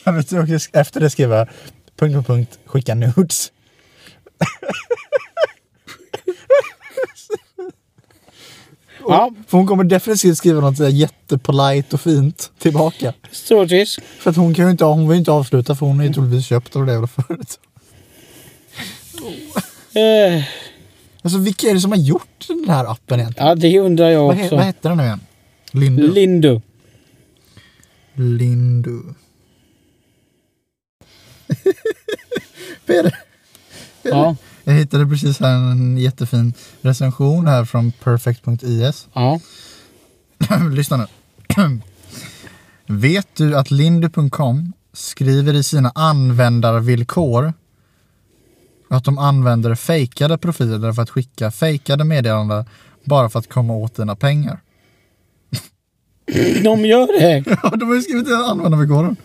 Kan du inte också sk- efter det skriva punkt, punkt, punkt, skicka nudes? Ja, För hon kommer definitivt skriva något sådär jättepolite och fint tillbaka. troligtvis. För att hon kan ju inte, hon vill inte avsluta för hon är ju troligtvis köpt av det jävla företaget. Eh, Alltså vilka är det som har gjort den här appen egentligen? Ja, det undrar jag Vad, he, vad också. hette den nu igen? Lindu. Lindu. Lindu. Peder, Ja, jag hittade precis här en jättefin recension här från perfect.is. ja. Lyssna nu. Vet du att Lindy.com skriver i sina användarvillkor att de använder fejkade profiler för att skicka fejkade meddelanden bara för att komma åt dina pengar? De gör det. Ja, de har ju skrivit i användarvillkoren.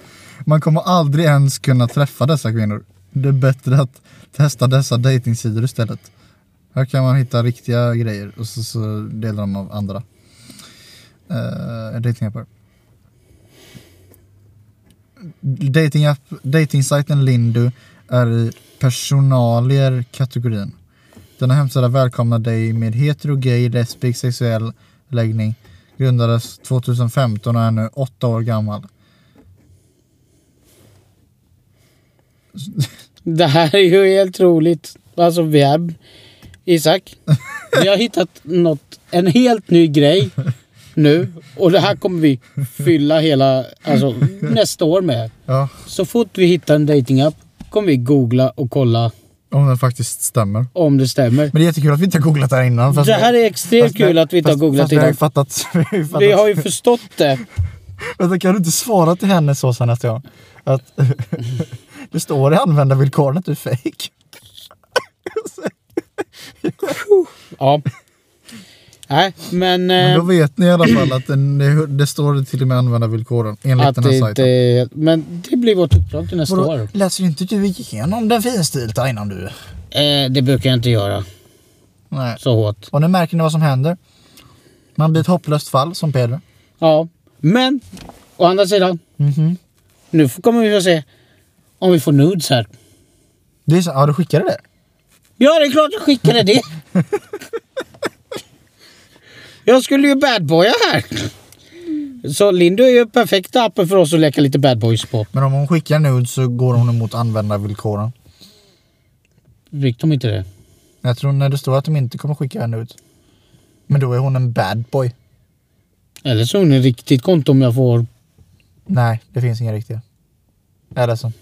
Man kommer aldrig ens kunna träffa dessa kvinnor. Det är bättre att testa dessa datingsidor istället. Här kan man hitta riktiga grejer och så, så delar de av andra. Uh, datingappar. Datingapp, datingsajten Lindu är i personalier-kategorin. Denna hemsida välkomnar dig med hetero, gay, lesbisk, sexuell läggning. Grundades 2015 och är nu åtta år gammal. Det här är ju helt roligt. Alltså vi är... Isak, vi har hittat något, en helt ny grej nu. Och det här kommer vi fylla hela, alltså nästa år med. Ja, Så fort vi hittar en datingapp kommer vi googla och kolla om den faktiskt stämmer. om det stämmer. Men det är jättekul att vi inte har googlat det här innan. fast- Det här är extremt fast- kul att vi inte har fast- googlat fast vi har ju idag. fattat. Vi har ju fattat. Vi har ju förstått det. Vänta, kan du inte svara till henne så sen att jag... Att det står i användarvillkoren att du är fake. Ja. Nej, men... Men då eh, vet ni i alla fall att den, det, det står till och med i användarvillkoren enligt Att den här det sajten. inte är... Men det blir vårt uppdrag till nästa Vadå, år. läser inte du igenom den finstilta innan du... Eh, det brukar jag inte göra Nej. så hårt. Och nu märker ni vad som händer. Man blir ett hopplöst fall som Pedro. Ja, men å andra sidan. Mhm. Nu får- kommer vi få se om vi får nudes här. Det är så, ja, du skickade det? Ja, det är klart jag skickade det. Jag skulle ju badboya här. Så Lindo är ju perfekta appen för oss att leka lite badboys på. Men om hon skickar nude så går hon emot användarvillkoren. Fick de inte det? Jag tror när det står att de inte kommer skicka nude. Men då är hon en bad boy. Eller så är hon ett riktigt konto om jag får... Nej, det finns inga riktiga. Jag är ledsen.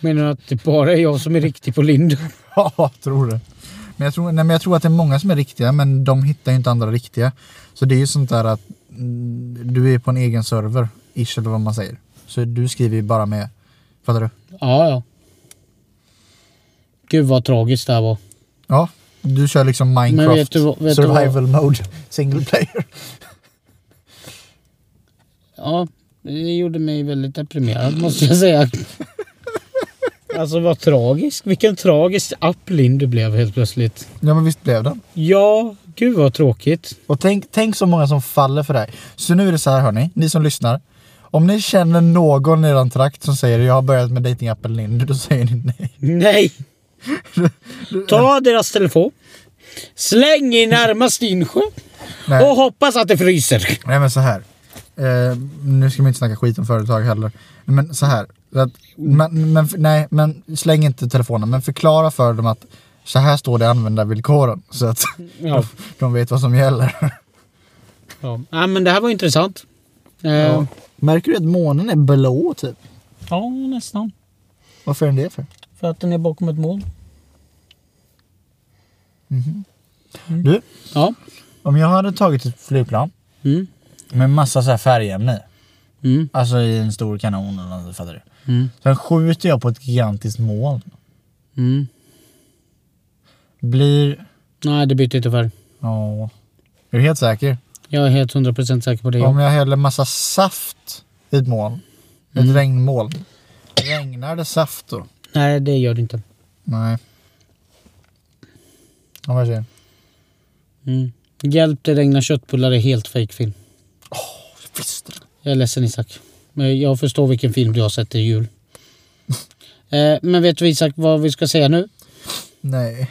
Menar du att det bara är jag som är riktig på Lindo? Ja, jag tror det. Men jag tror, nej, men jag tror att det är många som är riktiga, men de hittar ju inte andra riktiga. Så det är ju sånt där att mm, du är på en egen server, ish eller vad man säger. Så du skriver ju bara med, fattar du? Ja, ja. Gud vad tragiskt det här var. Ja, du kör liksom Minecraft vet du vad- vet du vad- survival mode, single player. Ja, det gjorde mig väldigt deprimerad måste jag säga. Alltså vad tragiskt. Vilken tragisk app Lindo blev helt plötsligt. Ja, men visst blev den. Ja, gud vad tråkigt. Och tänk, tänk så många som faller för det här. Så nu är det så här hörni, ni som lyssnar. Om ni känner någon i eran trakt som säger jag har börjat med datingappen Lind, då säger ni nej. Nej! Ta deras telefon. Släng i närmaste insjö. nej. Och hoppas att det fryser. Nej men så här. Eh, nu ska man inte snacka skit om företag heller. Men så här. Att, men, men, nej, men släng inte telefonen. Men förklara för dem att så här står det i användarvillkoren. Så att Ja. de vet vad som gäller. Ja. ja, men det här var intressant. Eh, ja. Märker du att månen är blå typ? nästan. Varför är den det för? För att den är bakom ett mål. Du, Ja. om jag hade tagit ett flygplan Mm. med massa så här färgämnen i. Mm. Alltså i en stor kanon eller något, fattar du? Mm. Sen skjuter jag på ett gigantiskt moln. Mm. Blir... Nej, det bytte inte färg. Ja. Är du helt säker? Jag är helt 100% säker på det. Om jag häller massa saft i ett moln, ett Mm. regnmoln, regnar det saft då? Nej, det gör det inte. Nej. Ja, vad säger du? Mm. Hjälp, det regnar köttbullar är helt fejkfilm. Jag visste det. Jag är ledsen Isak. Men jag förstår vilken film du har sett i jul. eh, men vet du Isak vad vi ska säga nu? Nej.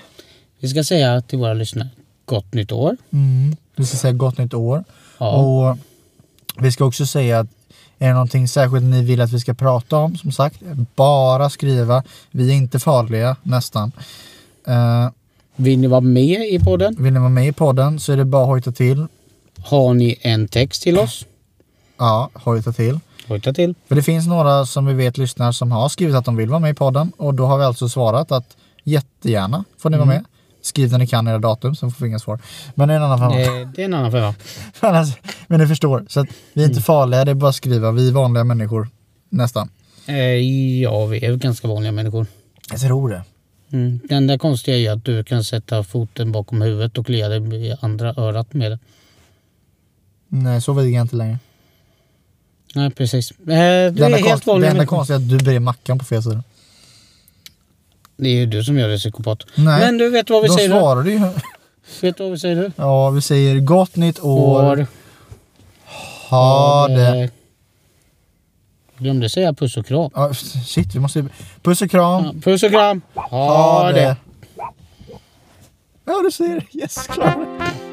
Vi ska säga till våra lyssnare. Gott nytt år. Mm. Du ska säga gott nytt år. Ja. Och vi ska också säga att är det någonting särskilt ni vill att vi ska prata om, som sagt, bara skriva. Vi är inte farliga, nästan. Eh, Vill ni vara med i podden? vill ni vara med i podden så är det bara att hojta till. Har ni en text till oss? Ja, hojta till. Hojta till. För det finns några som vi vet lyssnar som har skrivit att de vill vara med i podden och då har vi alltså svarat att jättegärna får ni vara med. Skriv när ni kan era datum så får vi inga svar. Men det är en annan femma. Eh, det är en annan fråga. Annars, men ni förstår. Så att vi är inte farliga, det är bara att skriva. Vi är vanliga människor. Nästan. Eh, ja, vi är väl ganska vanliga människor. Jag tror det. Mm. Det enda konstiga är ju att du kan sätta foten bakom huvudet och klia dig i andra örat med den. Nej, så vill jag inte längre. Nej, precis. Eh, du är enda, helt konst, det vanlig enda människa. konstiga är att du brer mackan på fel sida. Det är ju du som gör det, psykopat. Nej. Men du, vet vad vi De säger då? svarar du ju. Vet du vad vi säger då? Ja, vi säger gott nytt år. Ha det. Eh, Glömde säga puss och kram. Ja, shit, vi måste ju... Puss och kram. Ja, Puss och kram. Ha det. Ja, du ser. Yes, klar.